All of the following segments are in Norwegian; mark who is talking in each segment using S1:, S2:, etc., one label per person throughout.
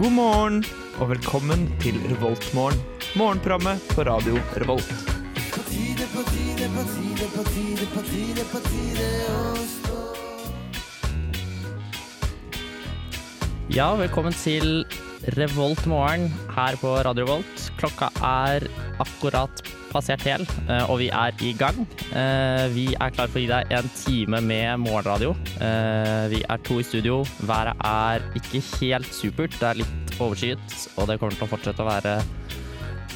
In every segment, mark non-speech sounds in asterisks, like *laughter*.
S1: God morgen og velkommen til Revoltmorgen. Morgenprogrammet på radio Revolt.
S2: Ja, velkommen til Revolt morgen her på Radio Revolt. Klokka er akkurat passert hel, eh, og vi er i gang. Eh, Vi er klar for å gi deg en time med morgenradio. Eh, Vi er to i studio. Været er ikke helt supert, det er litt overskyet, og det kommer til å fortsette å være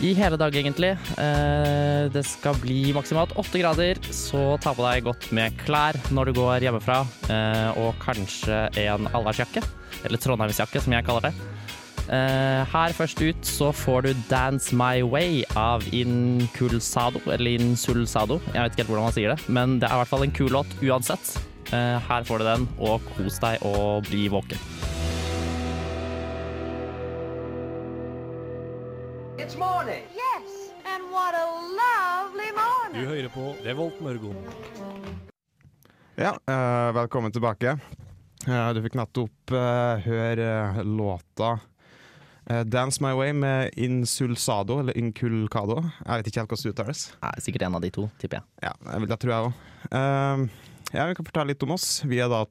S2: i hele dag, egentlig. Eh, det skal bli maksimalt åtte grader, så ta på deg godt med klær når du går hjemmefra, eh, og kanskje en allværsjakke. Eller trondheimsjakke, som jeg kaller det. Eh, her først ut så får du 'Dance My Way' av Inkulsado, eller Insulsado. Jeg vet ikke helt hvordan man sier det, men det er i hvert fall en kul låt uansett. Eh, her får du den, og kos deg og bli våken.
S3: It's morning.
S4: Yes, and what a lovely morning.
S5: Du hører på Revolt Mørgon.
S6: Ja, eh, velkommen tilbake. Eh, du fikk nettopp eh, høre eh, låta eh, 'Dance My Way' med Insulsado, eller Inculcado. Jeg vet ikke helt hvordan det uttales.
S2: Nei, sikkert en av de to, tipper jeg.
S6: Ja, jeg vil- det tror jeg òg. ja, vi kan fortelle litt om oss. Vi er da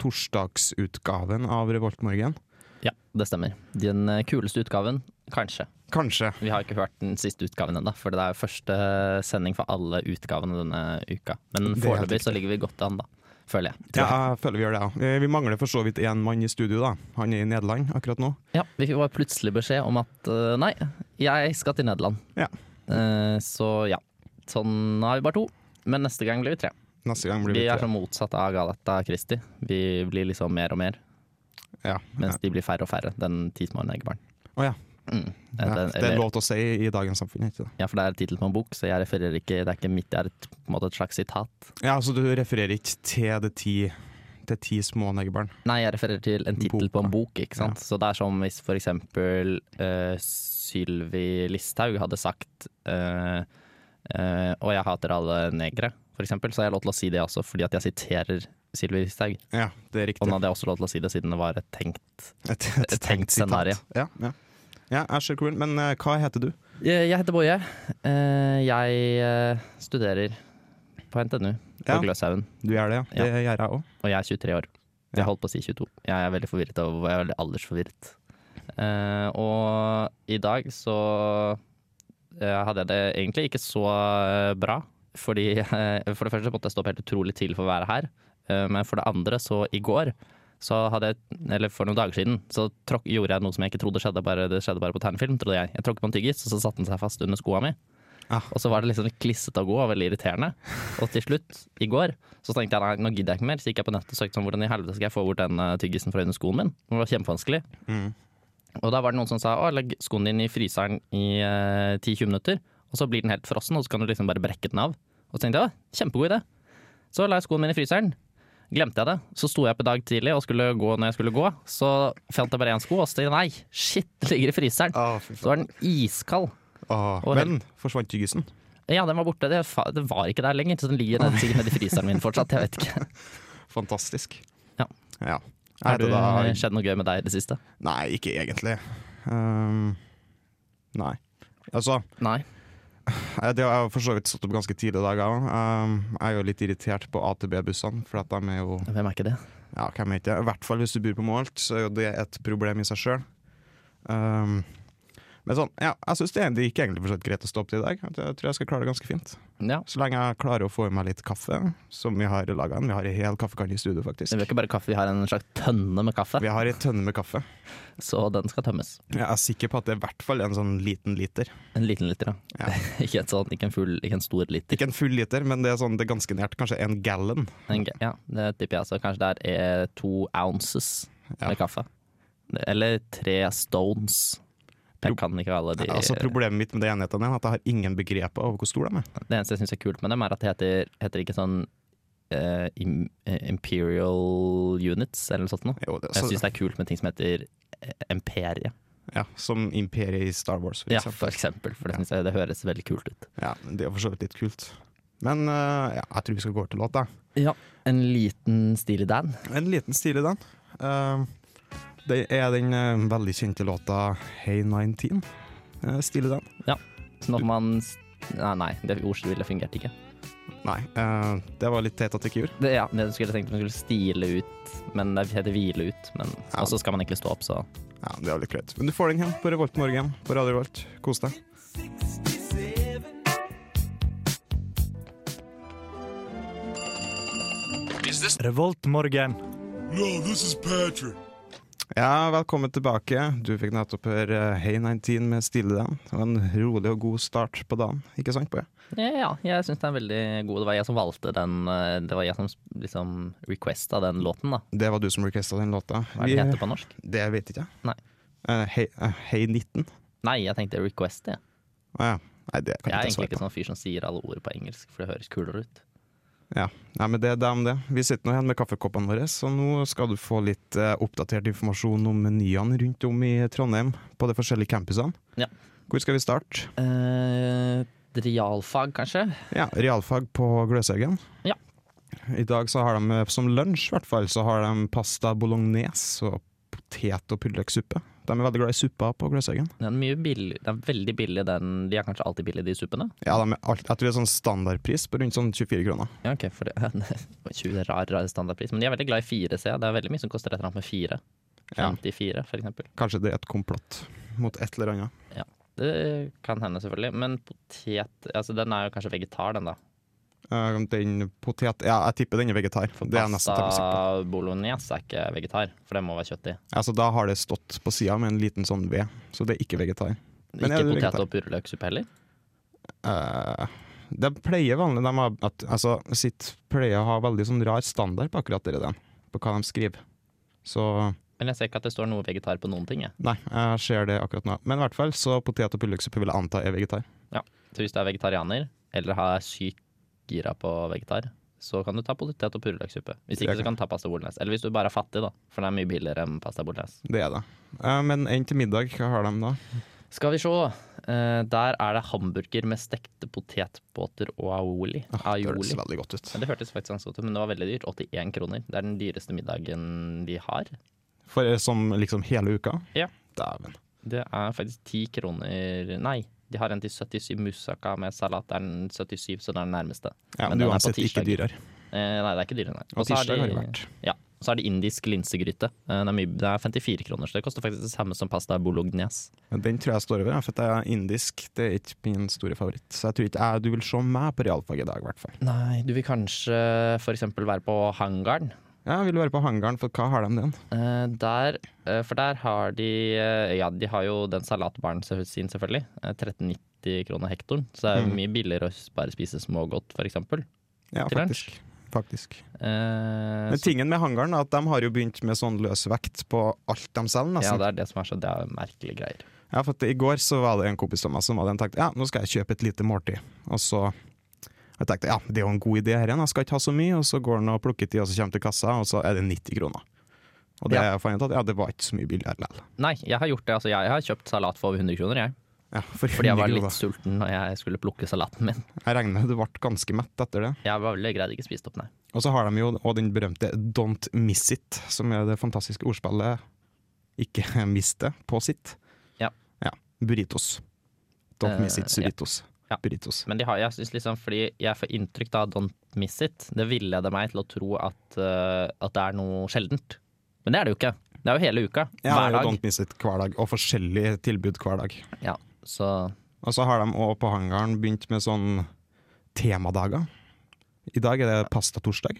S6: torsdagsutgaven av Revoltmorgen.
S2: Ja, det stemmer. Den eh, kuleste utgaven, kanskje.
S6: Kanskje.
S2: Vi har ikke hørt den siste utgaven ennå, for det er jo første sending for alle utgavene denne uka. Men
S6: Det er helt
S2: foreløpig så ligger vi godt an, da. Føler jeg. Tror jeg.
S6: Ja, jeg føler vi gjør det, ja. Eh, Vi mangler for så vidt én mann i studio, da. Han er i Nederland akkurat nå.
S2: Ja, vi fikk bare plutselig beskjed om at eh, nei, jeg skal til Nederland.
S6: Ja.
S2: Eh, så ja. Sånn har vi bare to. Men neste gang blir vi tre.
S6: Neste gang blir
S2: Vi
S6: vi
S2: er
S6: tre.
S2: så motsatt av Galata og Christi. Vi blir liksom mer og mer,
S6: Ja.
S2: mens de blir færre og færre. Den ti små neggebarn.
S6: Å ja.
S2: Mm. Eh,
S6: ja.
S2: den-
S6: Det er
S2: eller-
S6: lov til å si i dagens samfunn, ikke det?
S2: Ja, for det er tittelen på en bok, så jeg refererer ikke. Det er ikke mitt, det er et, på en måte et slags sitat.
S6: Ja, så du refererer ikke til de ti, til ti små negerbarn?
S2: Nei, jeg refererer til en tittel på en bok, ikke sant. Så det er som hvis for eksempel uh, Sylvi Listhaug hadde sagt eh, eh, Og jeg hater alle negere, for eksempel. Så har jeg lov til å si det også, fordi at jeg siterer Sylvi Listhaug.
S6: Ja, det er riktig.
S2: Og nå hadde jeg også lov til å si det, siden det var et tenkt
S6: Et, et
S2: et tenkt
S6: sitat.
S2: scenario.
S6: Ja, ja. ja jeg ser hvor- Men eh, hva heter du?
S2: Jeg jeg heter Boje. Eh, jeg eh, studerer på NTNU på
S6: Ja.
S2: Gløshaugen,
S6: Du gjør det, ja. Det gjør jeg òg.
S2: og jeg er 23 år. Jeg holdt på å si 22. Jeg er veldig forvirret og jeg er veldig aldersforvirret. Eh, og i dag så eh, hadde jeg det egentlig ikke så eh, bra. Fordi eh, For det første måtte jeg stå opp helt utrolig tidlig for å være her. Eh, men for det andre, så i går, så hadde jeg, eller for noen dager siden, så tråkk, gjorde jeg noe som jeg ikke trodde skjedde, bare, det skjedde bare på tegnefilm, trodde jeg. Jeg tråkket på en tyggis, og så satte den seg fast under skoa mi.
S6: Ah.
S2: Og så var det liksom litt klissete å gå, og veldig irriterende. Og til slutt, i går, så tenkte jeg nei, nå gidder jeg ikke mer. Så gikk jeg på nettet og søkte om hvordan i helvete skal jeg få bort den eh, tyggisen fra under skoen min. Det var kjempevanskelig. Og da var det noen som sa å, legg skoen din i fryseren i eh, 10-20 minutter, og så blir den helt frossen, og så kan du liksom bare brekke den av. Og så tenkte jeg å, kjempegod idé. Så la jeg skoen min i fryseren. Glemte jeg det. Så sto jeg opp i dag tidlig og skulle gå når jeg skulle gå. Så fant jeg bare én sko, og så tenkte jeg nei, shit, det ligger i
S6: Ah.
S2: fryseren. Så var den iskald. Og
S6: men forsvant tyggisen?
S2: Ja, den var borte. Det, fa- det var ikke der lenger, så den ligger nede, sikkert nedi fryseren min fortsatt. Jeg vet ikke.
S6: Fantastisk.
S2: Ja.
S6: ja. Er
S2: Har
S6: det
S2: det
S6: da
S2: skjedd noe gøy med deg i det siste?
S6: Nei, ikke egentlig. Ehm, nei. Altså,
S2: Nei.
S6: eh, det har jeg for så vidt stått opp ganske tidlig i dag, jeg òg. Ehm, jeg er jo litt irritert på AtB-bussene, for at de er jo
S2: Hvem er ikke det?
S6: Ja, hvem vet jeg. I hvert fall hvis du bor på Målt, så er jo det et problem i seg sjøl. men sånn, ja, jeg syns det, det gikk egentlig for så vidt greit å stå opp til i dag. Jeg tror jeg skal klare det ganske fint.
S2: Ja.
S6: Så lenge jeg klarer å få i meg litt kaffe, som vi har laga en. Vi har en hel kaffekanne i studio,
S2: Vi
S6: faktisk.
S2: har ikke bare kaffe, vi har en slags tønne med kaffe,
S6: Vi har ei tønne med kaffe.
S2: så den skal tømmes.
S6: Jeg er sikker på at det er i hvert fall en sånn liten liter.
S2: En liten liter, ja.
S6: Ja.
S2: *laughs* ikke, en sånn, ikke en full, ikke en stor liter.
S6: Ikke en full liter, men det er, sånn, det er ganske nært. Kanskje en gallon.
S2: En, g- ja, det tipper jeg. Så kanskje det er eh, to ounces
S6: Ja.
S2: med kaffe. Eller tre stones. Jeg kan ikke alle de
S6: Altså Problemet mitt med de enhetene er at jeg har ingen begreper over hvor stor de er.
S2: Det eneste jeg syns er kult med dem, er at det heter, heter ikke sånn eh, im, eh, Imperial Units, eller noe sånt noe.
S6: Jo, det,
S2: Jeg
S6: så,
S2: syns det er kult med ting som heter eh, Imperie,
S6: ja, som imperiet i Star Wars, for
S2: ja,
S6: eksempel.
S2: for eksempel. For det, synes jeg, det høres veldig kult ut.
S6: Ja, det er for så vidt litt kult. Men eh, ja, jeg tror vi skal gå over til låt, da.
S2: Ja, En liten stilig Dan.
S6: En liten stil i den. Eh, Det er den eh, veldig kjente låta Hey 19. Eh, Stille den.
S2: Sånn at man Nei, nei det ordspillet fungerte ikke.
S6: Nei, eh, det var litt teit at jeg ikke gjorde.
S2: Det, ja, det skulle jeg tenkt man skulle stile ut, men det heter hvile ut. Men
S6: Ja.
S2: Og så skal man egentlig stå opp, så
S6: Ja, det var litt greit. Men du får den her på Revolt Morgen på Radio Revolt. Kos deg.
S1: Revoltmorgen.
S6: Ja, velkommen tilbake. Du fikk nettopp høre eh, Hey 19 med Stille den. Det var en rolig og god start på dagen, ikke sant, Boje?
S2: ja, ja, jeg syns den er veldig god. Det var jeg som valgte den. eh, Det var jeg som liksom requesta den låten, da.
S6: Det var du som requesta den låta.
S2: Hva er det det heter på norsk?
S6: Det vet ikke jeg.
S2: Nei.
S6: Eh, hey, eh, hey 19?
S2: Nei, jeg tenkte request, jeg.
S6: Å ja. Nei, det kan
S2: Jeg er
S6: jeg ikke
S2: egentlig
S6: svare på.
S2: ikke sånn fyr som sier alle ord på engelsk, for det høres kulere ut.
S6: Ja, Nei, men det er dem det. Vi sitter nå igjen med kaffekoppene våre, så nå skal du få litt eh, oppdatert informasjon om menyene rundt om i Trondheim på de forskjellige campusene.
S2: Ja.
S6: Hvor skal vi starte?
S2: Eh, realfag, kanskje?
S6: Ja, Realfag på Gløshaugen.
S2: Ja.
S6: I dag så har de eh, som lunsj, i hvert fall, så har de pasta bolognese og potet- og purreløksuppe. De er veldig glad i suppa på Gløshaugen.
S2: Den er, mye billig, den er veldig billig, den. De er kanskje alltid billige, de suppene?
S6: Ja, de er alt, jeg tror det er sånn standardpris på rundt sånn 24 kroner.
S2: Ja, ok, for det
S6: *laughs*
S2: det var 20 rar, rar standardpris. Men de er veldig glad i 4C. Det er veldig mye som koster et eller annet med 4.
S6: Ja.
S2: 54, for eksempel.
S6: Kanskje det er et komplott mot et eller annet.
S2: Det kan hende, selvfølgelig. Men potet altså Den er jo kanskje vegetar, den, da.
S6: Eh, den potet... Ja, jeg tipper den er vegetar.
S2: For
S6: det er jeg nesten temmelig sikker på.
S2: pasta bolognese er ikke vegetar, for det må være kjøtt i.
S6: Altså, da har det stått på sida med en liten sånn ved, så det er ikke vegetar. Men
S2: Ikke
S6: er det vegetar?
S2: potet og purreløksuppe heller.
S6: Eh, det pleier vanlig de har at, altså, sitt pleier å ha veldig sånn rar standard på akkurat det der, på hva de skriver. Så
S2: Men jeg ser ikke at det står noe vegetar på noen ting. Jeg.
S6: nei, jeg ser det akkurat nå. Men i hvert fall, så potet og purreløksuppe vil jeg anta er vegetar.
S2: Så hvis du er vegetarianer, eller har sykt gira på vegetar, så kan du ta potet og purreløksuppe. Hvis
S6: Jeg
S2: ikke, så
S6: kan-
S2: kan du ta pasta bolognese. Eller hvis du bare er fattig, da, for det er mye billigere enn pasta bolognese.
S6: Det er det. Eh, men enn til middag, hva har de da?
S2: Skal vi se. Eh, der er det hamburger med stekte potetbåter og aioli.
S6: Ah, Det høres
S2: aioli.
S6: veldig godt ut.
S2: Ja, Det hørtes faktisk ganske godt ut, men det var veldig dyrt. 81 kroner. Det er den dyreste middagen de har.
S6: For eh, som liksom hele uka?
S2: Ja.
S6: Dæven.
S2: Det er faktisk 10 kroner Nei, de har en til 77 moussaka med salat. Det er den 77, så det er den nærmeste.
S6: Ja,
S2: Men
S6: men
S2: den er på
S6: uansett
S2: tirsdag.
S6: ikke dyrere.
S2: Eh, nei, det er ikke dyrere, nei.
S6: Og
S2: så er
S6: tirsdag har det
S2: de-
S6: vært.
S2: Ja. Så er det indisk linsegryte. Eh, Det er, mye, det er 54 kroner, så det koster faktisk det samme som pasta bolognese.
S6: Men Den tror jeg står over, ja, for at jeg er indisk. Det er ikke min store favoritt. Så jeg tror ikke jeg, du vil se meg på realfag i dag, i hvert fall.
S2: Nei, du vil kanskje eh, for eksempel være på hangaren.
S6: Ja, jeg vil være på hangaren, for hva har de den?
S2: Eh, der, eh, for der har de eh, Ja, de har jo den salatbaren selv- sin, selvfølgelig. Eh, 1390 kroner hektoren. Så det er jo
S6: Mm.
S2: mye billigere å s- bare spise smågodt, for eksempel.
S6: Ja,
S2: Til
S6: faktisk. Faktisk.
S2: Eh,
S6: Men
S2: så,
S6: tingen med hangaren er at de har jo begynt med sånn løsvekt på alt de selger,
S2: ja,
S6: nesten.
S2: det er det som er så Det er merkelige greier.
S6: Ja, for at i går så var det en kompis av meg som hadde en tanke Ja, nå skal jeg kjøpe et lite måltid. Og så jeg tenkte ja, det er jo en god idé, her, igjen, jeg skal ikke ha så mye. Og så går han og plukker til, og så kommer til kassa, og så er det 90 kroner. Og det
S2: Ja.
S6: fant jeg ut at ja, det var ikke så mye billigere likevel.
S2: Nei, jeg har gjort det. Altså, jeg har kjøpt salat for over 100 kroner, jeg.
S6: Ja, for
S2: Fordi jeg
S6: 100
S2: var
S6: kroner.
S2: litt sulten når jeg skulle plukke salaten min.
S6: Jeg regner med du ble ganske mett etter det.
S2: Jeg var veldig greid ikke spist opp, nei.
S6: Og så har de jo også den berømte 'don't miss it', som er det fantastiske ordspillet 'ikke *laughs* mist det' på sitt.
S2: Ja.
S6: Burritos. Don't
S2: Eh,
S6: miss it,
S2: ja.
S6: burritos.
S2: Ja.
S6: Burritos.
S2: Men de har, jeg synes liksom, fordi jeg får inntrykk da, don't miss it, det villeder meg til å tro at, eh, at det er noe sjeldent. Men det er det jo ikke. Det er jo hele uka.
S6: Ja,
S2: hver
S6: det er jo
S2: dag.
S6: Don't miss it hver dag, og forskjellige tilbud hver dag.
S2: Ja, så
S6: Og så har de òg på hangaren begynt med sånn temadager. I dag er det pastatorsdag.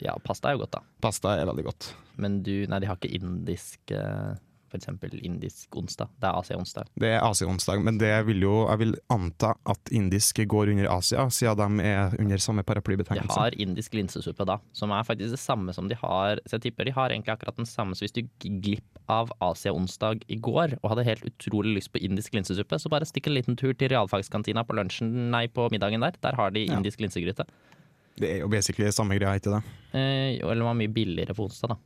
S2: ja, pasta er jo godt, da.
S6: Pasta er veldig godt.
S2: Men du, nei, de har ikke indisk eh, For eksempel indisk onsdag. Det er Asia-onsdag.
S6: Det er Asia-onsdag, men det vil jo, jeg vil anta at indisk går under Asia, siden de er under samme
S2: De
S6: paraplybetegnelse.
S2: har indisk linsesuppe da, som er faktisk det samme som de har Så jeg tipper de har egentlig akkurat den samme, så hvis du gikk glipp av Asia-onsdag i går og hadde helt utrolig lyst på indisk linsesuppe, så bare stikk en liten tur til realfagskantina på lunsjen, nei, på middagen der. Der har de
S6: Ja.
S2: indisk linsegryte.
S6: Det er jo basically samme greia, ikke det?
S2: Eh, jo, eller var mye billigere på onsdag, da.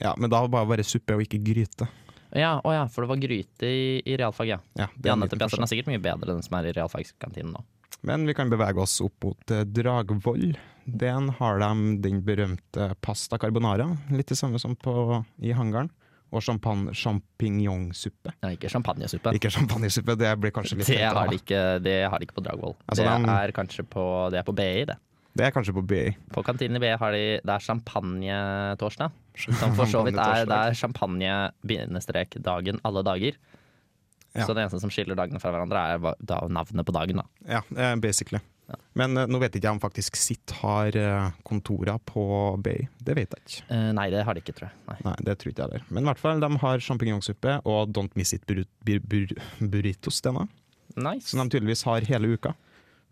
S6: Ja, men da bare bare suppe og ikke gryte.
S2: Ja, å ja, for det var gryte i, i realfag, ja.
S6: Ja, det
S2: Ja,
S6: er en
S2: nettopp.
S6: liten
S2: Ja, så den
S6: forskjell.
S2: er sikkert mye bedre enn den som er i realfagskantinen nå.
S6: Men vi kan bevege oss opp mot eh, Dragvoll. Den har de den berømte pasta carbonara, litt det samme som på, i hangaren. og champagne- champinjongsuppe.
S2: Nei, ikke champagnesuppe.
S6: Ikke champagnesuppe, det blir kanskje litt
S2: Det
S6: høyt,
S2: har
S6: da.
S2: de ikke, det har de ikke på Dragvoll.
S6: Altså,
S2: det,
S6: den-
S2: er kanskje på, det er på BI, det.
S6: Det er kanskje på BI.
S2: På kantinen i BI har de Det er
S6: *laughs*
S2: champagnetorsdag. Som for så vidt er, det er champagne-dagen alle dager.
S6: Ja.
S2: Så det eneste som skiller dagene fra hverandre, er hva- da navnet på dagen. da.
S6: Ja, eh, basically. Men eh, nå vet ikke jeg om faktisk sitt har eh, kontorer på BI. Det vet jeg ikke.
S2: Eh, nei, det har de ikke, tror jeg. Nei.
S6: Nei, det tror ikke jeg heller. Men i hvert fall, de har sjampinjongsuppe og Don't Miss It burru- bur bur burritos, denne,
S2: Nice.
S6: som de tydeligvis har hele uka.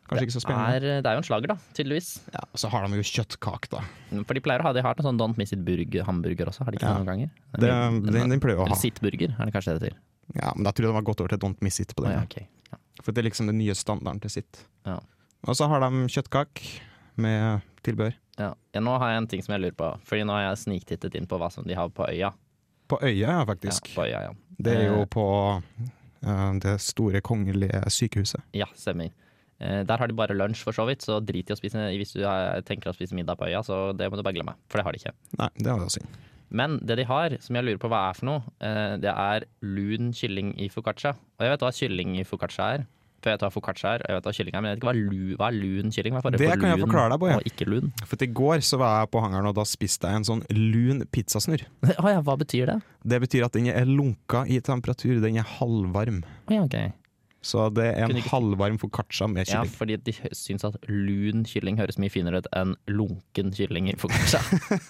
S6: Kanskje ikke så
S2: Er,
S6: spennende.
S2: det er jo en slager, da, tydeligvis.
S6: Ja, og så har de jo kjøttkake, da.
S2: For de pleier å ha de har hatt en sånn Don't Miss It burger, hamburger også, har de ikke
S6: Ja.
S2: det noen ganger?
S6: Det, den, den pleier jeg å
S2: eller
S6: ha.
S2: Sitt-burger, er det kanskje det det heter.
S6: Ja, men da tror jeg de har gått over til Don't Miss It på
S2: Å
S6: den.
S2: ja, ok. Ja.
S6: For det er liksom den nye standarden til sitt.
S2: Ja.
S6: Og så har de kjøttkake med tilbehør.
S2: Ja. Ja, nå har jeg en ting som jeg lurer på, Fordi nå har jeg sniktittet inn på hva som de har på øya.
S6: På Øya, ja,
S2: Ja,
S6: faktisk.
S2: på øya, ja.
S6: Det er jo
S2: Eh.
S6: på eh, det store kongelige sykehuset.
S2: ja stemmer. Eh, Der har de bare lunsj, for så vidt, så drit i å spise hvis du eh, tenker å spise middag på øya. Så det må du bare glemme, for det har de ikke.
S6: Nei, det var jo synd.
S2: Men det de har, som jeg lurer på hva er for noe, eh, det er lun kylling i foccaccia. Og jeg vet hva kylling i foccaccia er. For jeg vet hva foccaccia er, og jeg vet hva kylling er, men jeg vet ikke hva, lu, hva er lun kylling? Hva er
S6: Det kan jeg
S2: lun
S6: forklare deg på, ja.
S2: Og ikke lun. *laughs*
S6: For i går så var jeg på hangaren, og da spiste jeg en sånn lun pizzasnurr.
S2: Å ja, hva betyr det?
S6: Det betyr at den er lunka i temperatur, den er halvvarm.
S2: Å ja, ok.
S6: Så det er en
S2: Kunne ikke-
S6: halvvarm foccaccia med
S2: Ja,
S6: kylling.
S2: fordi de hø- syns at lun kylling høres mye finere ut enn lunken kylling i foccaccia.
S6: *laughs*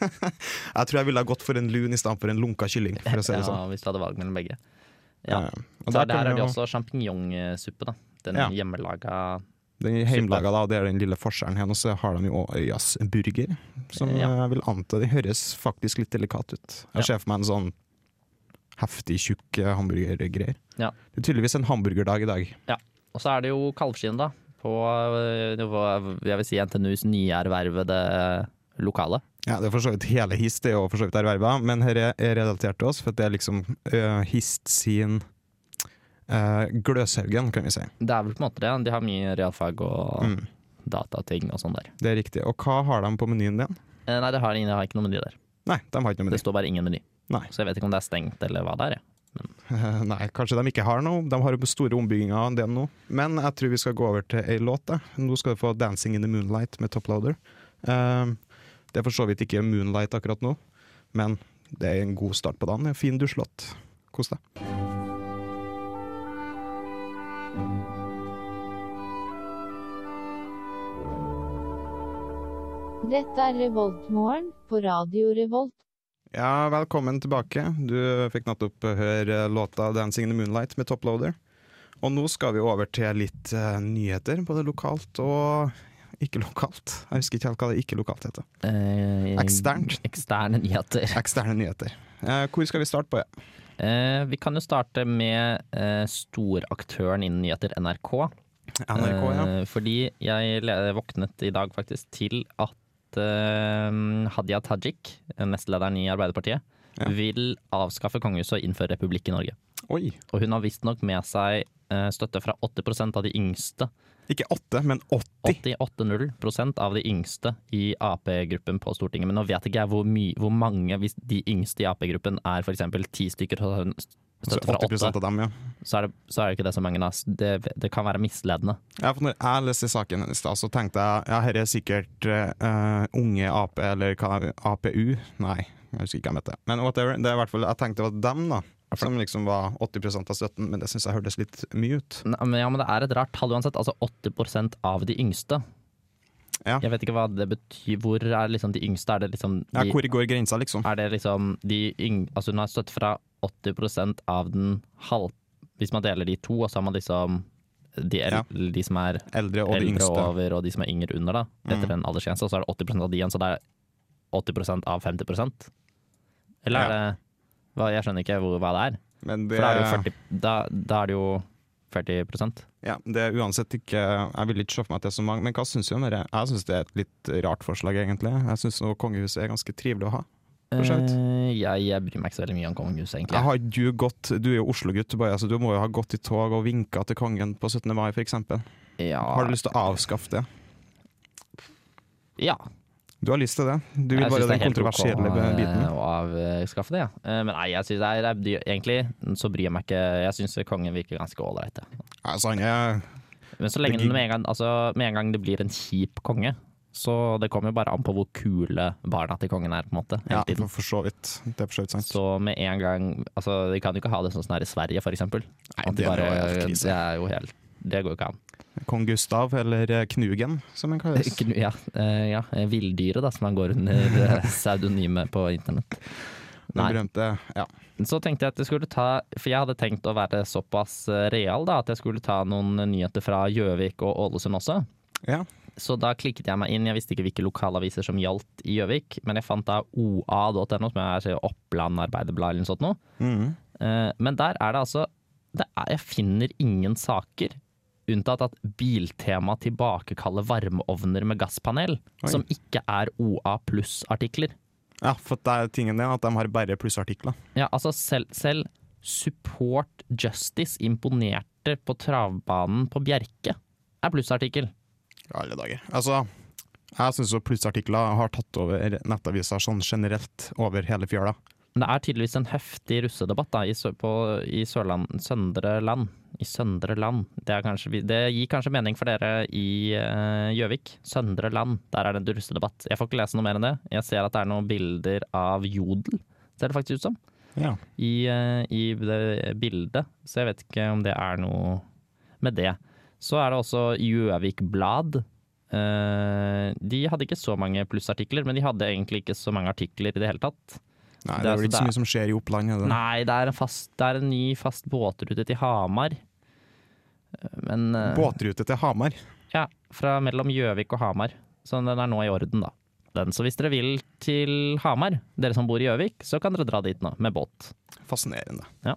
S6: Jeg tror jeg ville ha gått for en lun istedenfor en lunka kylling, for å si det sånn.
S2: Ja, hvis du hadde valg mellom begge. Ja.
S6: Eh,
S2: Så
S6: Og
S2: der,
S6: der kan
S2: har de
S6: jo-
S2: også sjampinjongsuppe, da. Den
S6: Ja.
S2: hjemmelaga
S6: Den er hjemmelaga, da, og det er den lille forskjellen her. Og så har de jo også Øyas burger, som
S2: Ja.
S6: jeg vil anta de høres faktisk litt delikat ut.
S2: Ja.
S6: Jeg ser for meg en sånn heftig, tjukk eh, hamburgergreier.
S2: Ja.
S6: Det er tydeligvis en hamburgerdag i dag.
S2: Og så er det jo kalvskinn, da. På øh, nivå- jeg vil si NTNUs nyervervede øh, lokale.
S6: Ja, det er for så vidt hele Hist det er jo for så vidt erverva, men her er er relatert til oss, for det er liksom eh, Hist sin eh, Gløshaugen, kan vi si.
S2: Det er vel på en måte det. De har mye realfag og
S6: Mm,
S2: datating og sånn der.
S6: det er riktig. Og hva har de på menyen din?
S2: Eh, Nei, det har, de har ikke noe meny der.
S6: Nei, de har ikke noe
S2: Det
S6: meny.
S2: står bare ingen meny.
S6: Nei.
S2: Så jeg vet ikke om det er stengt eller hva det er. jeg.
S6: *laughs* Nei, kanskje de ikke har noe. De har jo store ombygginger av en del nå. Men jeg tror vi skal gå over til ei låt. Da. Nå skal du få 'Dancing in the Moonlight' med Toploader. Um, det er for så vidt ikke Moonlight akkurat nå, men det er en god start på dagen. En Fin dusjlåt. Kos deg.
S3: Dette er Revoltmorgen på Radio Revolt.
S6: Ja, velkommen tilbake. Du fikk nettopp høre låta 'Dancing in the Moonlight' med Toploader. Og nå skal vi over til litt eh, nyheter, både lokalt og ikke lokalt. Jeg husker ikke helt hva det ikke lokalt heter.
S2: Eh,
S6: Eksternt.
S2: Eksterne nyheter.
S6: Eksterne nyheter. Eh, hvor skal vi starte på?
S2: Eh, vi kan jo starte med eh, storaktøren innen nyheter, NRK.
S6: NRK, ja.
S2: Eh, Fordi jeg le- våknet i dag faktisk til at eh, Hadia Tajik, nestlederen i Arbeiderpartiet,
S6: Ja.
S2: vil avskaffe kongehuset og innføre republikk i Norge.
S6: Oi.
S2: Og hun har visstnok med seg eh, støtte fra 80 av de yngste.
S6: Ikke åtte, men 80.
S2: 88,0 av de yngste i Ap-gruppen på Stortinget. Men nå vet ikke jeg hvor, my hvor mange, hvis de yngste i Ap-gruppen er f.eks. ti stykker, så har hun
S6: Så
S2: støtte fra
S6: 80
S2: åtte,
S6: av dem, ja.
S2: så er det, så er det ikke det så mange. da. Det, det kan være misledende.
S6: ja for når jeg leste saken i stad, så tenkte jeg ja, her er sikkert eh, unge Ap, eller hva er det? APU? Nei, jeg husker ikke hva de heter. Men whatever. Det er i hvert fall, jeg tenkte det var dem, da. Som liksom var 80 av støtten, men det syns jeg hørtes litt mye ut.
S2: Nei, men, ja, men det er et rart tall uansett. Altså 80 av de yngste.
S6: Ja.
S2: Jeg vet ikke hva det betyr. Hvor er liksom de yngste? Er det liksom de,
S6: Ja, hvor går grensa, liksom?
S2: er det liksom de yng, Altså hun har støtte fra 80 av den halv... Hvis man deler de to, og så har man liksom de, el, de som er
S6: Eldre og de
S2: eldre
S6: yngste. Mm.
S2: over, og de som er yngre under, da. Etter en aldersgrense. Og så er det 80 av de igjen, så det er 80 av 50 Eller er det hva, Jeg skjønner ikke hvor, hva det er.
S6: Men det,
S2: For da er det jo 40, da, da er det jo 40
S6: ja, det er uansett ikke Jeg vil ikke se for meg at det er så mange, men hva syns du om det? Jeg syns det er et litt rart forslag, egentlig. Jeg syns kongehuset er ganske trivelig å ha. for så vidt.
S2: Eh, jeg, jeg bryr meg ikke så veldig mye om kongehuset, egentlig.
S6: Jeg har du gått, du er jo Oslo-gutt, Boje, så du må jo ha gått i tog og vinka til kongen på 17. mai, f.eks.
S2: ja.
S6: Har du lyst til å avskaffe det?
S2: ja.
S6: Du har lyst til det. Du vil
S2: Jeg synes det
S6: bare den
S2: er helt ok
S6: kontroversielle
S2: å,
S6: biten.
S2: eh, Å avskaffe det, ja. Eh, Men nei, jeg synes det er, det er egentlig så bryr jeg meg ikke. Jeg syns kongen virker ganske ålreit. ja.
S6: Altså, han er
S2: Men så lenge
S6: Det gikk-
S2: den med en, gang, altså, med en gang det blir en kjip konge, så det kommer jo bare an på hvor kule barna til kongen er, på en måte.
S6: ja,
S2: Hele tiden.
S6: for- for så vidt. Det er for så vidt sant.
S2: Så med en gang Altså, de kan jo ikke ha det sånn som det er i Sverige, for eksempel.
S6: Nei,
S2: At det,
S6: det er jo
S2: bare,
S6: helt krise.
S2: det er jo helt Det går jo ikke an.
S6: Kong Gustav, eller eh, Knugen, som han
S2: *laughs*
S6: kalles.
S2: Ikke nu- Ja, eh, ja Villdyret, da, som han går under eh, pseudonymet på internett.
S6: Den
S2: Nei.
S6: berømte Ja.
S2: Så tenkte jeg at jeg skulle ta For jeg hadde tenkt å være såpass eh, real da, at jeg skulle ta noen nyheter fra Gjøvik og Ålesund også.
S6: ja.
S2: Så da klikket jeg meg inn. Jeg visste ikke hvilke lokalaviser som gjaldt i Gjøvik, men jeg fant da oa.no, som er sier Oppland Arbeiderblad eller noe sånt. Noe.
S6: Mhm.
S2: Eh, Men der er det altså det er, Jeg finner ingen saker unntatt at Biltema tilbakekaller varmeovner med gasspanel,
S6: Oi.
S2: som ikke er OA pluss-artikler.
S6: ja, for det er tingen det at de har bare plussartikler.
S2: Ja, altså selv, selv Support Justice imponerte på travbanen på Bjerke er plussartikkel.
S6: I Alle dager. Altså, jeg syns jo plussartikler har tatt over nettaviser sånn generelt over hele fjøla.
S2: Men det er tydeligvis en heftig russedebatt da, i, Sø- på, i Sørland, Søndre Land. I Søndre Land. Det, er kanskje, vi- det gir kanskje mening for dere i eh, Gjøvik. Søndre Land, der er det en russedebatt. Jeg får ikke lese noe mer enn det. Jeg ser at det er noen bilder av jodel, ser det faktisk ut som,
S6: Ja.
S2: i, eh, i det bildet. Så jeg vet ikke om det er noe med det. Så er det også Gjøvik Blad. Eh, de hadde ikke så mange plussartikler, men de hadde egentlig ikke så mange artikler i det hele tatt.
S6: Nei,
S2: Det
S6: det,
S2: er
S6: er vel
S2: altså-
S6: ikke så mye som skjer i Oppland. Er det?
S2: Nei, det er en, fast, det er en ny fast båtrute til Hamar. Men eh,
S6: Båtrute til Hamar.
S2: Ja, fra mellom Gjøvik og Hamar. Så den er nå i orden, da. Den, så hvis dere vil til Hamar, dere som bor i Gjøvik, så kan dere dra dit nå med båt.
S6: Fascinerende.
S2: Ja.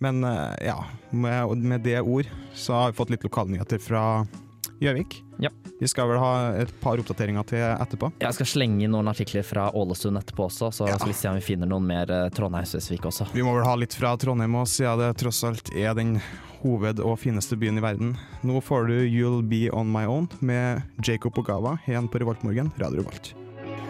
S6: Men eh, ja, med, med det ord så har vi fått litt lokalnyheter fra Gjøvik.
S2: Ja.
S6: Vi skal vel ha et par oppdateringer til etterpå.
S2: Jeg skal slenge inn noen artikler fra Ålesund etterpå også, så skal vi se om vi finner noen mer eh, Trondheim-Søsvik også.
S6: Vi må vel ha litt fra Trondheim òg, siden det tross alt er den hoved- og fineste byen i verden. Nå får du You'll Be On My Own med Jacob Ogawa igjen på Revoltmorgen, Radio Revolt.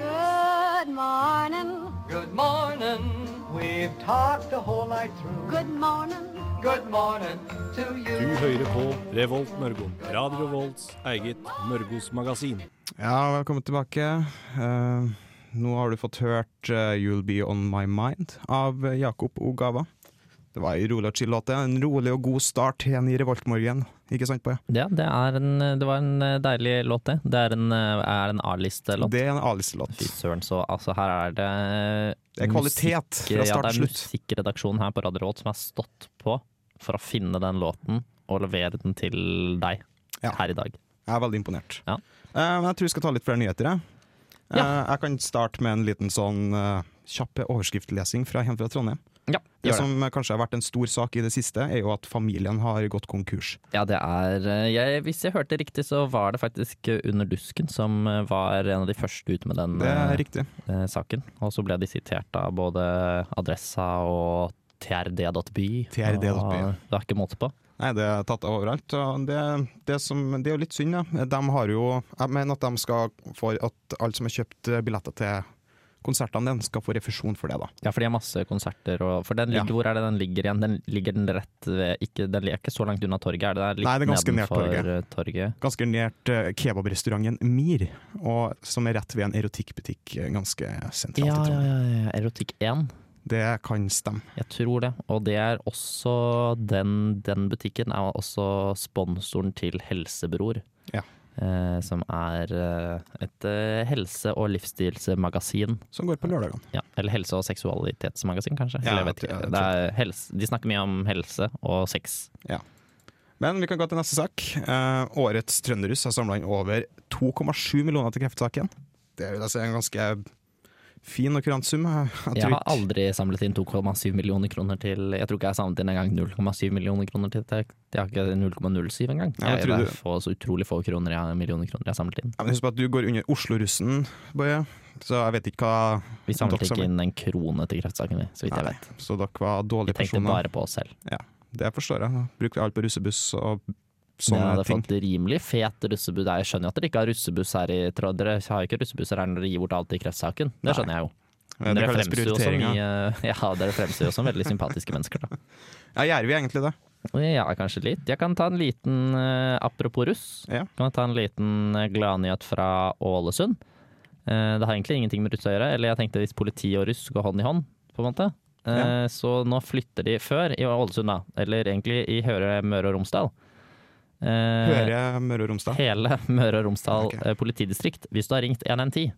S4: Good morning.
S7: Good morning. We've talked the whole night through.
S4: Good morning.
S7: Good morning to
S5: Du
S7: you.
S5: hører på Revolt Mørgom. Radio Revolts eget Mørgos magasin.
S6: Ja, velkommen tilbake. Eh, nå har du fått hørt eh, 'You'll Be On My Mind' av eh, Jakob Ogawa. Det var ei rolig og chill låt. det. En rolig og god start igjen i Revoltmorgen. Ikke sant, Baja?
S2: Ja, det, er en, det var en eh, deilig låt, det. Det er en, eh, er en A-liste-låt.
S6: Det er en A-listelåt.
S2: Fy søren, så altså, her er det eh,
S6: Det er kvalitet fra
S2: ja,
S6: start
S2: det er
S6: til slutt.
S2: musikkredaksjonen her på Radio Revolt som har stått på for å finne den låten og levere den til deg
S6: Ja.
S2: her i dag.
S6: Jeg er veldig imponert.
S2: Ja.
S6: Eh, men jeg tror vi skal ta litt flere nyheter. Jeg. Eh,
S2: Ja.
S6: jeg kan starte med en liten sånn eh, kjapp overskriftlesing fra hjem fra Trondheim.
S2: Ja,
S6: Det
S2: gjør det.
S6: som eh, kanskje har vært en stor sak i det siste, er jo at familien har gått konkurs.
S2: Ja, det er eh, jeg, Hvis jeg hørte riktig, så var det faktisk eh, Under dusken som eh, var en av de første ut med den
S6: Det er
S2: eh,
S6: riktig.
S2: eh, saken. Og så ble de sitert av både Adressa og trd.by.
S6: TRD.by,
S2: Og
S6: ja.
S2: Det er ikke måte på.
S6: Nei, det er tatt av overalt. Og det, det, som, det er jo litt synd, da. De har jo Jeg mener at de skal få at alle som har kjøpt eh, billetter til konsertene dine, skal få refusjon for det, da.
S2: Ja, for de har masse konserter og For den
S6: Ja.
S2: ligger, hvor er det den ligger igjen? Den ligger den rett ved ikke, Den er ikke så langt unna torget, er det der? Litt
S6: Nei, det er ganske nært
S2: nedenfor,
S6: torget.
S2: eh, torget.
S6: Ganske nært eh, kebabrestauranten Mir, og, som er rett ved en erotikkbutikk eh, ganske sentralt. i
S2: Ja, ja, ja,
S6: Trondheim.
S2: ja. Erotikk 1.
S6: Det kan stemme.
S2: Jeg tror det. Og det er også den, den butikken er også sponsoren til Helsebror.
S6: Ja.
S2: Eh, som er eh, et eh, helse- og livsstilsmagasin.
S6: Som går på lørdagene.
S2: Ja, eller helse- og seksualitetsmagasin, kanskje.
S6: Ja,
S2: eller jeg vet
S6: jeg
S2: ikke.
S6: tror- jeg
S2: det er helse. De snakker mye om helse og sex.
S6: Men vi kan gå til neste sak. Eh, årets trønderhus har samla inn over 2,7 millioner til kreftsaken. Det vil jeg si er altså, en ganske fin og kurant sum. Jeg, jeg
S2: Jeg
S6: tror
S2: har
S6: ikke-
S2: aldri samlet inn 2,7 millioner kroner til Jeg tror ikke jeg har samlet inn engang 0,7 millioner kroner til Jeg jeg har ikke 0,07 engang.
S6: Ja, men
S2: Jeg,
S6: tror
S2: det
S6: du-
S2: er få, så utrolig få kroner jeg, millioner kroner jeg har samlet inn.
S6: Ja, men Husk på at du går under Oslo-russen, Boje. Så jeg vet ikke hva
S2: Vi samlet
S6: Dere
S2: ikke
S6: samlet-
S2: inn en krone til kreftsaken, vi, så vidt jeg
S6: Nei,
S2: vet.
S6: Så dere var dårlige
S2: Vi tenkte
S6: personer.
S2: bare på oss selv.
S6: Det forstår jeg. Brukte alt på russebuss og sånne
S2: hadde
S6: ting.
S2: fått rimelig fet russebuss. Jeg skjønner jo at dere ikke har russebuss her i Trond- Dere har jo ikke russebusser her når dere gir bort alt i kreftsaken. Det skjønner jeg jo.
S6: Eh,
S2: Men
S6: Det
S2: dere
S6: kalles
S2: fremstår jo som
S6: prioritering. Ja,
S2: mye, *laughs* ja, dere fremstår jo som veldig sympatiske mennesker, da.
S6: Ja, gjør vi egentlig det?
S2: Ja, kanskje litt. Jeg kan ta en liten eh, Apropos russ.
S6: Ja.
S2: Kan jeg ta en liten eh, gladnyhet fra Ålesund? Eh, det har egentlig ingenting med russ å gjøre. Eller jeg tenkte hvis politi og russ går hånd i hånd, på en måte. Eh, Så nå flytter de før i Ålesund, da. Eller egentlig i Høre Møre og Romsdal. Eh,
S6: Høre Møre og Romsdal.
S2: Hele Møre og Romsdal
S6: Ok.
S2: eh, politidistrikt. Hvis du har ringt 110,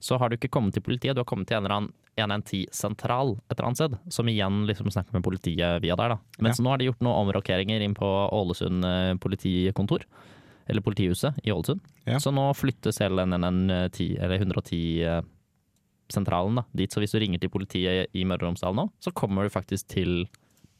S2: så har du ikke kommet til politiet, du har kommet til en eller annen 110-sentral et eller annet sted, som igjen liksom snakker med politiet via der. da. Men
S6: Ja.
S2: så nå har de gjort noen omrokeringer inn på Ålesund eh, politikontor, eller politihuset i Ålesund.
S6: Ja.
S2: Så nå flyttes hele den 110, eller 110-sentralen eh, da, dit. Så hvis du ringer til politiet i Møre og Romsdal nå, så kommer du faktisk til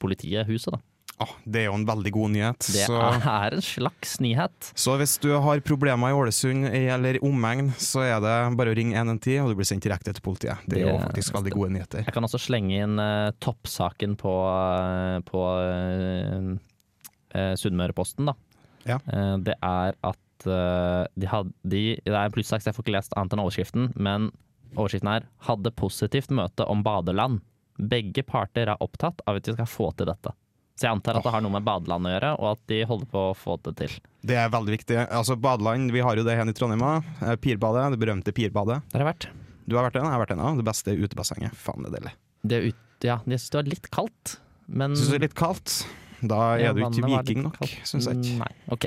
S2: politihuset, da.
S6: Åh, det er jo en veldig god nyhet.
S2: Det
S6: Så,
S2: er en slags nyhet.
S6: så hvis du har problemer i Ålesund eller omegn, så er det bare å ringe 110, og du blir sendt direkte til politiet. Det er jo
S2: Det-
S6: faktisk veldig gode nyheter.
S2: Jeg kan også slenge inn eh, toppsaken på, eh, på eh, eh, Sunnmøreposten, da.
S6: Ja.
S2: Eh, det er at eh, de hadde de, Det er en plussak, så jeg får ikke lest annet enn overskriften, men overskriften er 'Hadde positivt møte om badeland'. Begge parter er opptatt av at vi skal få til dette. Så jeg antar at det har noe med badeland å gjøre, og at de holder på å få det til.
S6: Det er veldig viktig. Altså, Badeland, vi har jo det her i Trondheim òg. Eh, Pirbadet, det berømte Pirbadet.
S2: Der har jeg vært.
S6: Du har vært en, jeg har vært en av. Det beste utebassenget. Faen, det er deilig.
S2: Det er ut, ja, jeg syns det var litt kaldt, men
S6: Syns det er litt kaldt. Da er
S2: Ja,
S6: du
S2: vannet
S6: ikke
S2: var litt
S6: viking nok,
S2: kaldt. Mm.
S6: syns jeg ikke.
S2: Nei. OK.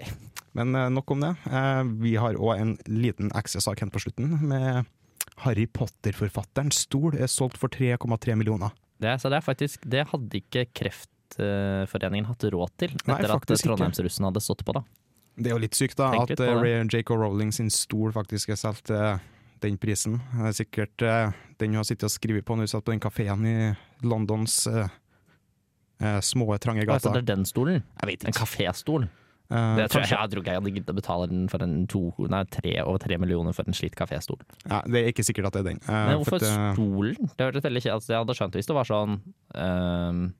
S6: Men eh, nok om det. Eh, Vi har òg en liten ekstrasak helt på slutten, med Harry Potter-forfatteren Stol er solgt for 3,3 millioner.
S2: Det, så det er faktisk Det hadde ikke Kreftforeningen hatt råd til
S6: Nei,
S2: etter at
S6: faktisk ikke.
S2: Trondheimsrussen hadde stått på, da.
S6: Det er jo litt sykt, da,
S2: Tenk litt
S6: at
S2: på det.
S6: eh, Ray- J.K. Rowling sin stol faktisk er solgt til den prisen. Det er sikkert eh, den hun har sittet og skrevet på når hun satt på den kafeen i Londons eh, eh, små, trange
S2: Altså,
S6: gater.
S2: det er den stolen.
S6: Jeg vet
S2: En
S6: ikke.
S2: kaféstol.
S6: Eh,
S2: Det tror jeg, jeg tror ikke jeg hadde giddet å betale den for en to, nei, tre, over tre millioner for en slitt kaféstol.
S6: Ja, det er ikke sikkert at det er den. Eh,
S2: Men
S6: for
S2: hvorfor
S6: at, eh,
S2: stolen? Det hørtes veldig kjedelig altså, Jeg hadde skjønt hvis det var sånn ehm,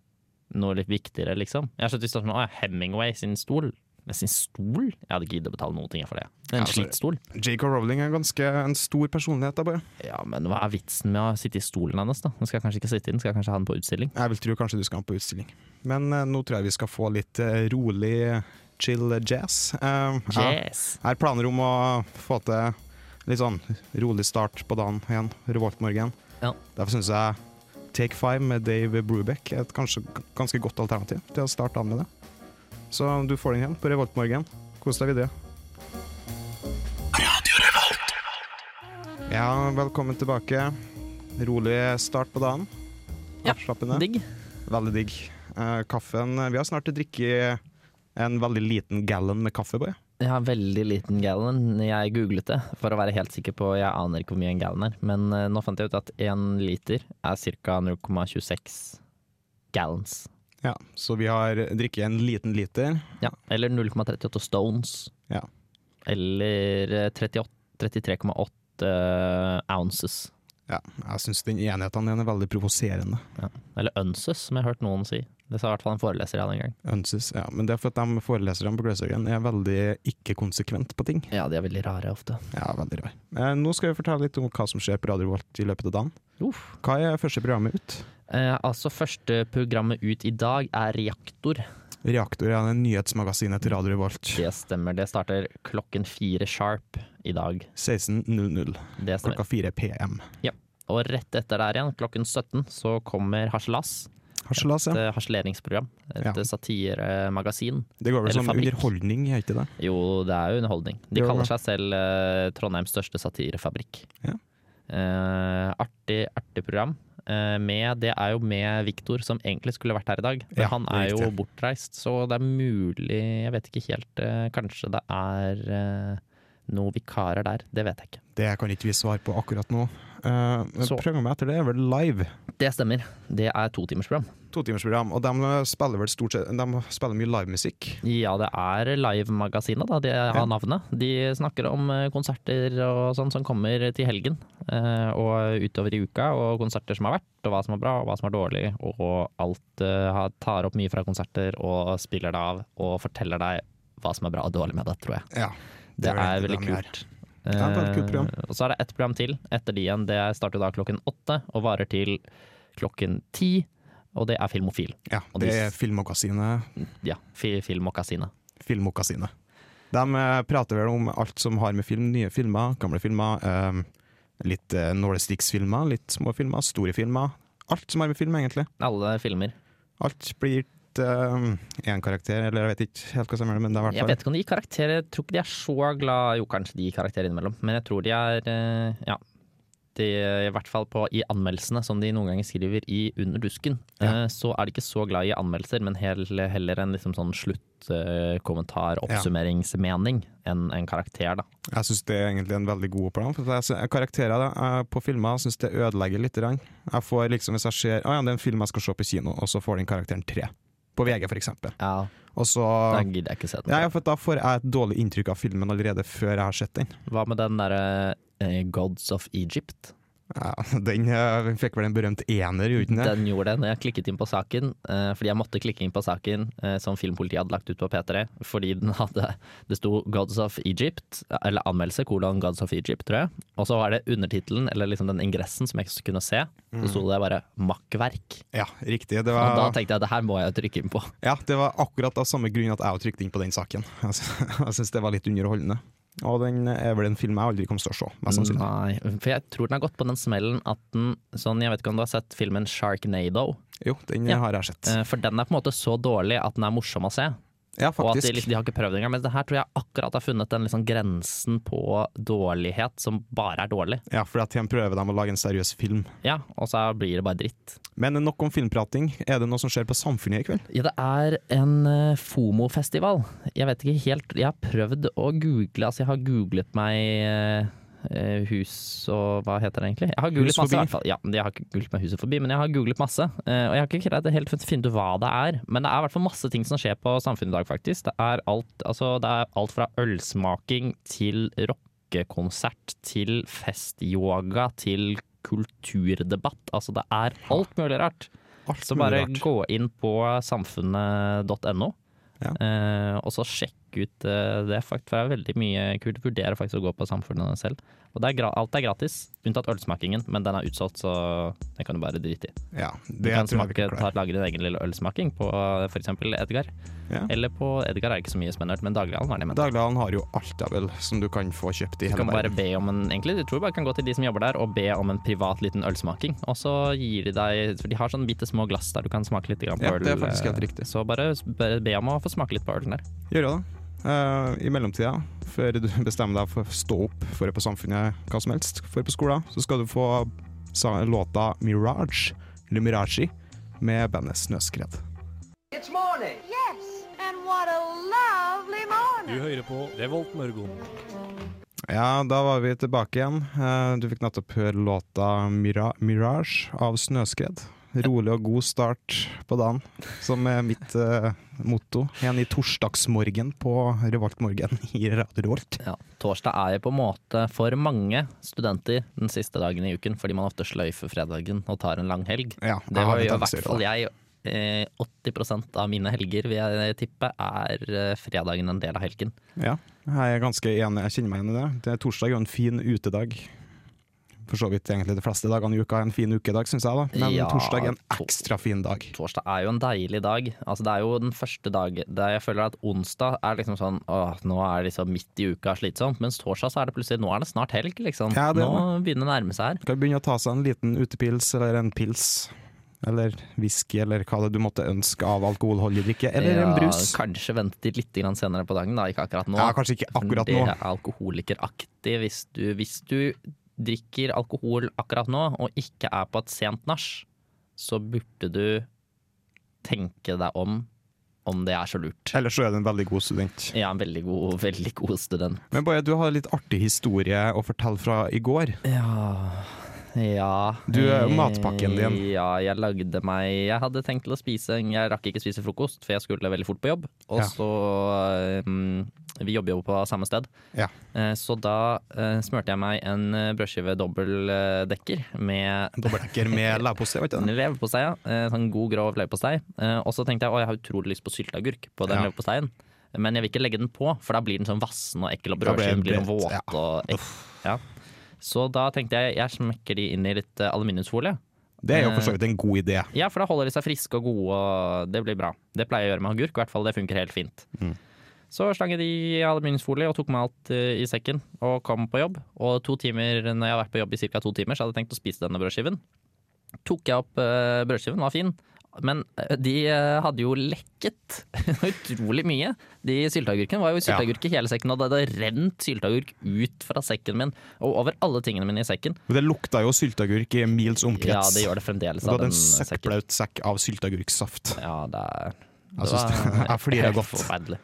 S2: noe litt viktigere, liksom. Jeg skjønte hvis det var sånn Å ja, Hemingway sin stol. Men sin stol? Jeg hadde ikke giddet å betale noen ting for det. En
S6: Ja,
S2: ja,
S6: altså-
S2: slitt stol.
S6: J.K. Rowling er ganske en stor personlighet. da bare.
S2: Ja, men hva er vitsen med å sitte i stolen hennes, da? Nå skal jeg kanskje ikke sitte i den, skal jeg kanskje ha den på utstilling?
S6: Jeg vil tro kanskje du skal ha den på utstilling. Men eh, nå tror jeg vi skal få litt eh, rolig, chill jazz. Eh, jeg-
S2: Yes!
S6: Jeg har planer om å få til litt sånn rolig start på dagen igjen. Revoltmorgen.
S2: Ja.
S6: Derfor syns jeg Take Five med Dave Brubeck er et kanskje g- ganske godt alternativ til å starte dagen med det. Så du får den igjen på Revoltmorgen. Kos deg videre. Ja, velkommen tilbake. Rolig start på dagen.
S2: Ja,
S6: Avslappende.
S2: Digg.
S6: Veldig digg. Eh, kaffen Vi har snart drikket en veldig liten gallon med kaffe. Boy.
S2: Jeg har veldig liten gallon. Jeg googlet det for å være helt sikker på Jeg aner ikke hvor mye en gallon er, men eh, nå fant jeg ut at én liter er ca. 0,26 gallons.
S6: Ja, Så vi har drikket en liten liter.
S2: Ja, eller 0,38 stones.
S6: Ja.
S2: Eller eh, 38 33,8 eh, ounces.
S6: Ja, Jeg syns den enheten din er veldig provoserende.
S2: Eller unces, som jeg har hørt noen si. Det sa i hvert fall en foreleser jeg hadde en gang.
S6: Unses, ja, Men det er for at de foreleserne på Gløshaugen er veldig ikke konsekvent på ting.
S2: Ja, de er veldig rare ofte.
S6: Ja, veldig rar. Eh, nå skal vi fortelle litt om hva som skjer på Radio Volt i løpet av dagen.
S2: Uff.
S6: Hva er første programmet ut?
S2: Eh, altså, første programmet ut i dag er Reaktor.
S6: Reaktor er det nyhetsmagasinet til Radio Volt.
S2: Det stemmer. Det starter klokken fire sharp i dag.
S6: 16.00
S2: Det stemmer.
S6: klokka 4 pm.
S2: Og rett etter der igjen, klokken 17, så kommer Harselas.
S6: Harselas,
S2: Et
S6: ja.
S2: eh, harseleringsprogram. Et
S6: Ja.
S2: eh, satiremagasin.
S6: Det går vel
S2: eller
S6: som
S2: fabrikk.
S6: underholdning, er ikke det?
S2: Jo, det er jo underholdning. De
S6: Jo,
S2: kaller
S6: ja.
S2: seg selv eh, Trondheims største satirefabrikk.
S6: Ja.
S2: Eh, artig, artig program. Eh, med, det er jo med Viktor, som egentlig skulle vært her i dag. Men
S6: Ja,
S2: han
S6: det er
S2: er jo
S6: riktig.
S2: bortreist, så det er mulig Jeg vet ikke helt. eh, kanskje det er eh, noen vikarer der. Det vet jeg ikke.
S6: Det kan ikke vi svare på akkurat nå. Eh, men
S2: Så.
S6: programmet etter det er vel live.
S2: Det stemmer. Det er totimersprogram.
S6: Totimersprogram. Og de spiller vel stort sett De spiller mye livemusikk.
S2: Ja, det er Live-magasinet, da. De har navnet. De snakker om eh, konserter og sånn som kommer til helgen eh, og utover i uka, og konserter som har vært, og hva som er bra og hva som er dårlig, og alt eh, har- tar opp mye fra konserter og spiller det av og forteller deg hva som er bra og dårlig med det, tror jeg.
S6: Ja.
S2: Det
S6: er
S2: er
S6: egentlig
S2: veldig
S6: det vi
S2: kult.
S6: Ja, det er et kult program.
S2: Eh, og så er det ett program til etter de igjen. Det starter da klokken åtte og varer til klokken ti. Og det er Filmofil.
S6: ja
S2: Og
S6: det
S2: de-
S6: er Filmmagasinet.
S2: Ja, fi- Filmmagasinet.
S6: Filmmagasinet. De eh, prater vel om alt som har med film, nye filmer, gamle filmer, eh, litt eh, nålestiksfilmer, litt små filmer, store filmer. Alt som har med film, egentlig.
S2: Alle filmer.
S6: Alt blir gitt én karakter, eller jeg vet ikke helt hva som er det, men det er i
S2: Jeg
S6: hvert
S2: vet ikke om de gir karakterer. Jeg tror ikke de er så glad Jo, kanskje de gir karakterer innimellom, men jeg tror de er eh, Ja. De, I hvert fall på, i anmeldelsene, som de noen ganger skriver i Under dusken,
S6: Ja.
S2: eh, så er de ikke så glad i anmeldelser, men hel, heller en liksom sånn sluttkommentar,
S6: Ja.
S2: oppsummeringsmening, enn en karakter, da.
S6: fall Jeg syns det er egentlig en veldig god plan. For jeg sy- karakterer eh, på filmer syns det ødelegger litt. grann. Jeg får liksom, Hvis jeg ser «Å ja, det er en film jeg skal se på kino, og så får den karakteren tre. På VG, for eksempel.
S2: Ja,
S6: Og så
S2: Da gidder jeg ikke se den.
S6: ja, ja, for Da får jeg et dårlig inntrykk av filmen allerede før jeg har sett den.
S2: Hva med den derre eh, Gods of Egypt?
S6: Ja, *laughs* den eh, fikk vel en berømt ener, gjorde den det?
S2: Den gjorde det når jeg klikket inn på saken, eh, fordi jeg måtte klikke inn på saken eh, som filmpolitiet hadde lagt ut på P3, fordi den hadde Det sto 'Gods of Egypt', eller anmeldelse, kolon 'Gods of Egypt', tror jeg. Og så var det undertittelen, eller liksom den ingressen som jeg ikke kunne se. Så sto det bare 'makkverk'.
S6: Ja, riktig. Det
S2: Og da
S6: var,
S2: tenkte jeg det her må jeg trykke inn på.
S6: ja, det var akkurat av samme grunn at jeg også trykte inn på den saken. *laughs* Jeg sy- Jeg syns det var litt underholdende. Og den er vel en film jeg aldri kommer til å se, mest sannsynlig.
S2: Nei, for jeg tror den har gått på den smellen at den sånn, Jeg vet ikke om du har sett filmen 'Sharknado'?
S6: Jo, den
S2: Mm. Ja.
S6: har jeg sett.
S2: Eh, For den er på en måte så dårlig at den er morsom å se.
S6: Ja,
S2: Og at de,
S6: faktisk.
S2: liksom, de har ikke prøvd det engang. Men det her tror jeg akkurat har funnet den liksom grensen på dårlighet som bare er dårlig.
S6: Ja, for at de prøver dem å lage en seriøs film.
S2: Ja, og så blir det bare dritt.
S6: Men nok om filmprating. Er det noe som skjer på Samfunnet i kveld?
S2: Ja, det er en eh, FOMO-festival. Jeg vet ikke helt Jeg har prøvd å google, altså jeg har googlet meg eh, eh, Hus og hva heter det egentlig? Jeg har googlet
S6: Hus
S2: masse,
S6: forbi.
S2: i hvert fall. Ja, jeg har ikke googlet meg huset forbi, men jeg har googlet masse. eh, Og jeg har ikke greid å helt funnet ut hva det er, men det er i hvert fall masse ting som skjer på Samfunnet i dag, faktisk. Det er alt, altså, det er alt fra ølsmaking til rockekonsert til festyoga til kulturdebatt. Altså det er alt mulig rart.
S6: Alt
S2: Så
S6: mulig
S2: bare
S6: rart.
S2: gå inn på samfunnet.no,
S6: Ja.
S2: eh, og så sjekk ut eh, det. Fakt, for det er veldig mye kult. Vurderer faktisk å gå på Samfunnet selv. Og det er gra alt er gratis, unntatt ølsmakingen, men den er utsolgt, så den kan du bare drite i.
S6: Ja,
S2: Du
S6: det
S2: kan
S6: tror jeg vi
S2: smake,
S6: klarer.
S2: ta, lage din egen lille ølsmaking på f.eks. Edgar.
S6: Ja.
S2: Eller på Edgar er det ikke så mye spennende, men Dagligland er det med.
S6: Dagligdagen har jo alt av vel som du kan få kjøpt i
S2: Du
S6: hele
S2: kan bare
S6: verden.
S2: be om en, egentlig, du tror bare kan gå til de som jobber der og be om en privat liten ølsmaking. Og så gir de deg, for de har sånne bitte små glass der du kan smake litt grann på
S6: Ja,
S2: øl. eh,
S6: det er faktisk helt riktig.
S2: Så bare, bare be om å få smake litt på ølen der.
S6: Gjør det, da. Eh, I mellomtida, før du *laughs* bestemmer deg for å stå opp, for på Samfunnet, hva som helst, for på skolen, så skal du få sa- låta 'Mirage', eller 'Miraji', med bandet Snøskred.
S7: It's morning.
S4: Yes, and what a lovely morning.
S5: Du hører på Revolt Mørgon.
S6: Ja, da var vi tilbake igjen. Eh, Du fikk nettopp høre låta Mira 'Mirage' av Snøskred. Rolig og god start på dagen, som er mitt eh, motto. En i torsdagsmorgen på Revoltmorgen *laughs* i Radio Revolt.
S2: Ja, torsdag er jo på en måte for mange studenter den siste dagen i uken, fordi man ofte sløyfer fredagen og tar en lang helg.
S6: Ja, jeg
S2: Det
S6: har
S2: var
S6: en
S2: jo i
S6: tendens til å
S2: hvert
S6: gjøre
S2: fall
S6: det.
S2: jeg. eh, 80 av mine helger, vil jeg tippe, er eh, fredagen en del av helgen.
S6: Ja, jeg er ganske enig. Jeg kjenner meg igjen i det. det er torsdag er jo en fin utedag. For så vidt egentlig de fleste dagene i uka er en fin ukedag, syns jeg. da. Men
S2: Ja,
S6: torsdag er en
S2: to-
S6: ekstra fin dag.
S2: Torsdag er jo en deilig dag. Altså, det er jo den første dag der jeg føler at onsdag er liksom sånn Åh, nå er det liksom midt i uka slitsomt. Mens torsdag så er det plutselig Nå er det snart helg, liksom.
S6: Ja, det er
S2: nå begynner det å nærme seg her.
S6: Skal vi begynne å ta seg en liten utepils eller en pils? Eller whisky, eller hva det du måtte ønske av alkoholholdig drikke. Eller en
S2: Ja,
S6: brus.
S2: Kanskje vente til litt grann senere på dagen, da. Ikke akkurat nå.
S6: Ja, kanskje ikke akkurat
S2: Det
S6: nå.
S2: er alkoholikeraktig hvis du, hvis du drikker alkohol akkurat nå, og ikke er på et sent nach, så burde du tenke deg om om det er så lurt.
S6: Ellers så er du en veldig god student.
S2: Jeg er en veldig god, veldig god student.
S6: Men Boje, du har en litt artig historie å fortelle fra i går.
S2: Ja ja.
S6: Du, eh, matpakken din.
S2: Ja, jeg lagde meg Jeg hadde tenkt til å spise Jeg rakk ikke spise frokost, for jeg skulle veldig fort på jobb. Og
S6: Ja.
S2: så mm, Vi jobber jo på samme sted.
S6: Ja.
S2: Eh, Så da eh, smurte jeg meg en eh, brødskive dobbeltdekker med *laughs*
S6: Dobbeltdekker med leverpostei, vet du.
S2: leverpostei. ja. Eh, Sånn god, grov leverpostei. Eh, Og så tenkte jeg å, jeg har utrolig lyst på sylteagurk på den
S6: Ja.
S2: leverposteien. Men jeg vil ikke legge den på, for da blir den sånn vassen og ekkel og
S6: Da blir
S2: brødskiven
S6: den
S2: blir den
S6: brent,
S2: våt.
S6: ja.
S2: Og ek ja. Så da tenkte jeg jeg smekker de inn i litt eh, aluminiumsfolie.
S6: Det er jo for så vidt en god idé.
S2: Ja, for da holder de seg friske og gode, og det blir bra. Det pleier jeg å gjøre med agurk, i hvert fall. Det funker helt fint.
S6: Mm.
S2: Så slang jeg de i aluminiumsfolie og tok med alt eh, i sekken og kom på jobb. Og to timer, når jeg har vært på jobb i ca. to timer, så hadde jeg tenkt å spise denne brødskiven. Tok jeg opp eh, brødskiven, var fin. Men eh, de eh, hadde jo lekket *laughs* utrolig mye. De sylteagurkene var jo sylteagurk i hele sekken, og det hadde rent sylteagurk ut fra sekken min og over alle tingene mine i sekken.
S6: Men det lukta jo sylteagurk i mils
S2: Ja,
S6: omkrets.
S2: det gjør det fremdeles
S6: Du
S2: av
S6: hadde
S2: den
S6: en
S2: sekken.
S6: søkkblaut sekk av sylteagurksaft.
S2: Ja, det er
S6: Jeg synes det- jeg flirer
S2: helt
S6: godt.
S2: forferdelig.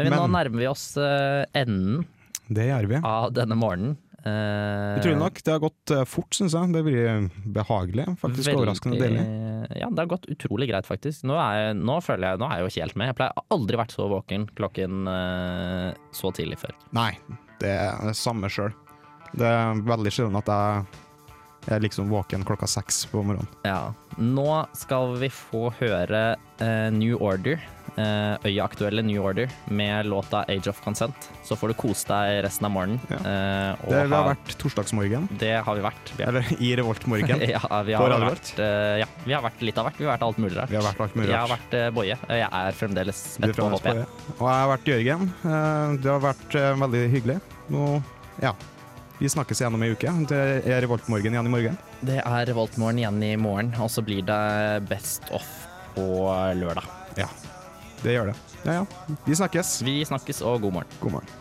S2: Men, nå
S6: Men-
S2: nærmer vi oss eh, enden
S6: Det gjør vi.
S2: av denne morgenen. Uh,
S6: Utrolig nok. Det har gått eh, fort, syns jeg. Det blir behagelig. Faktisk overraskende deilig.
S2: Ja, det har gått utrolig greit, faktisk. Nå er, jeg, nå, føler jeg, nå er jeg jo ikke helt med. Jeg pleier aldri vært så våken klokken eh, så tidlig før.
S6: Nei, det er det samme sjøl. Det er veldig sjelden at jeg er liksom våken klokka seks på morgenen.
S2: Ja. Nå skal vi få høre eh, New Order. Uh, Øya-aktuelle New Order med låta Age of Consent. Så får du kose deg resten av morgenen.
S6: Ja.
S2: eh, og
S6: Det har
S2: ha-
S6: vært torsdagsmorgen,
S2: det har vi vært. Vi har
S6: eller i Revoltmorgen.
S2: *laughs* Ja, vi
S6: På
S2: har,
S6: Radio
S2: vært, eh, ja, vi har vært litt av hvert. Vi har vært alt mulig rart.
S6: Vi har vært alt mulig
S2: Jeg har
S6: rart.
S2: vært eh, Boje. Jeg er fremdeles
S6: Du er
S2: et på,
S6: fremdeles på,
S2: håper jeg.
S6: ja. Og jeg har vært Jørgen. Eh, Det har vært eh, veldig hyggelig. Nå, ja. Vi snakkes igjen om ei uke. Det er Revoltmorgen igjen i morgen.
S2: Det er Revoltmorgen igjen i morgen, og så blir det Best Off på lørdag.
S6: Ja, det gjør det. Ja, ja. Vi snakkes.
S2: Vi snakkes, og god morgen.
S6: God morgen.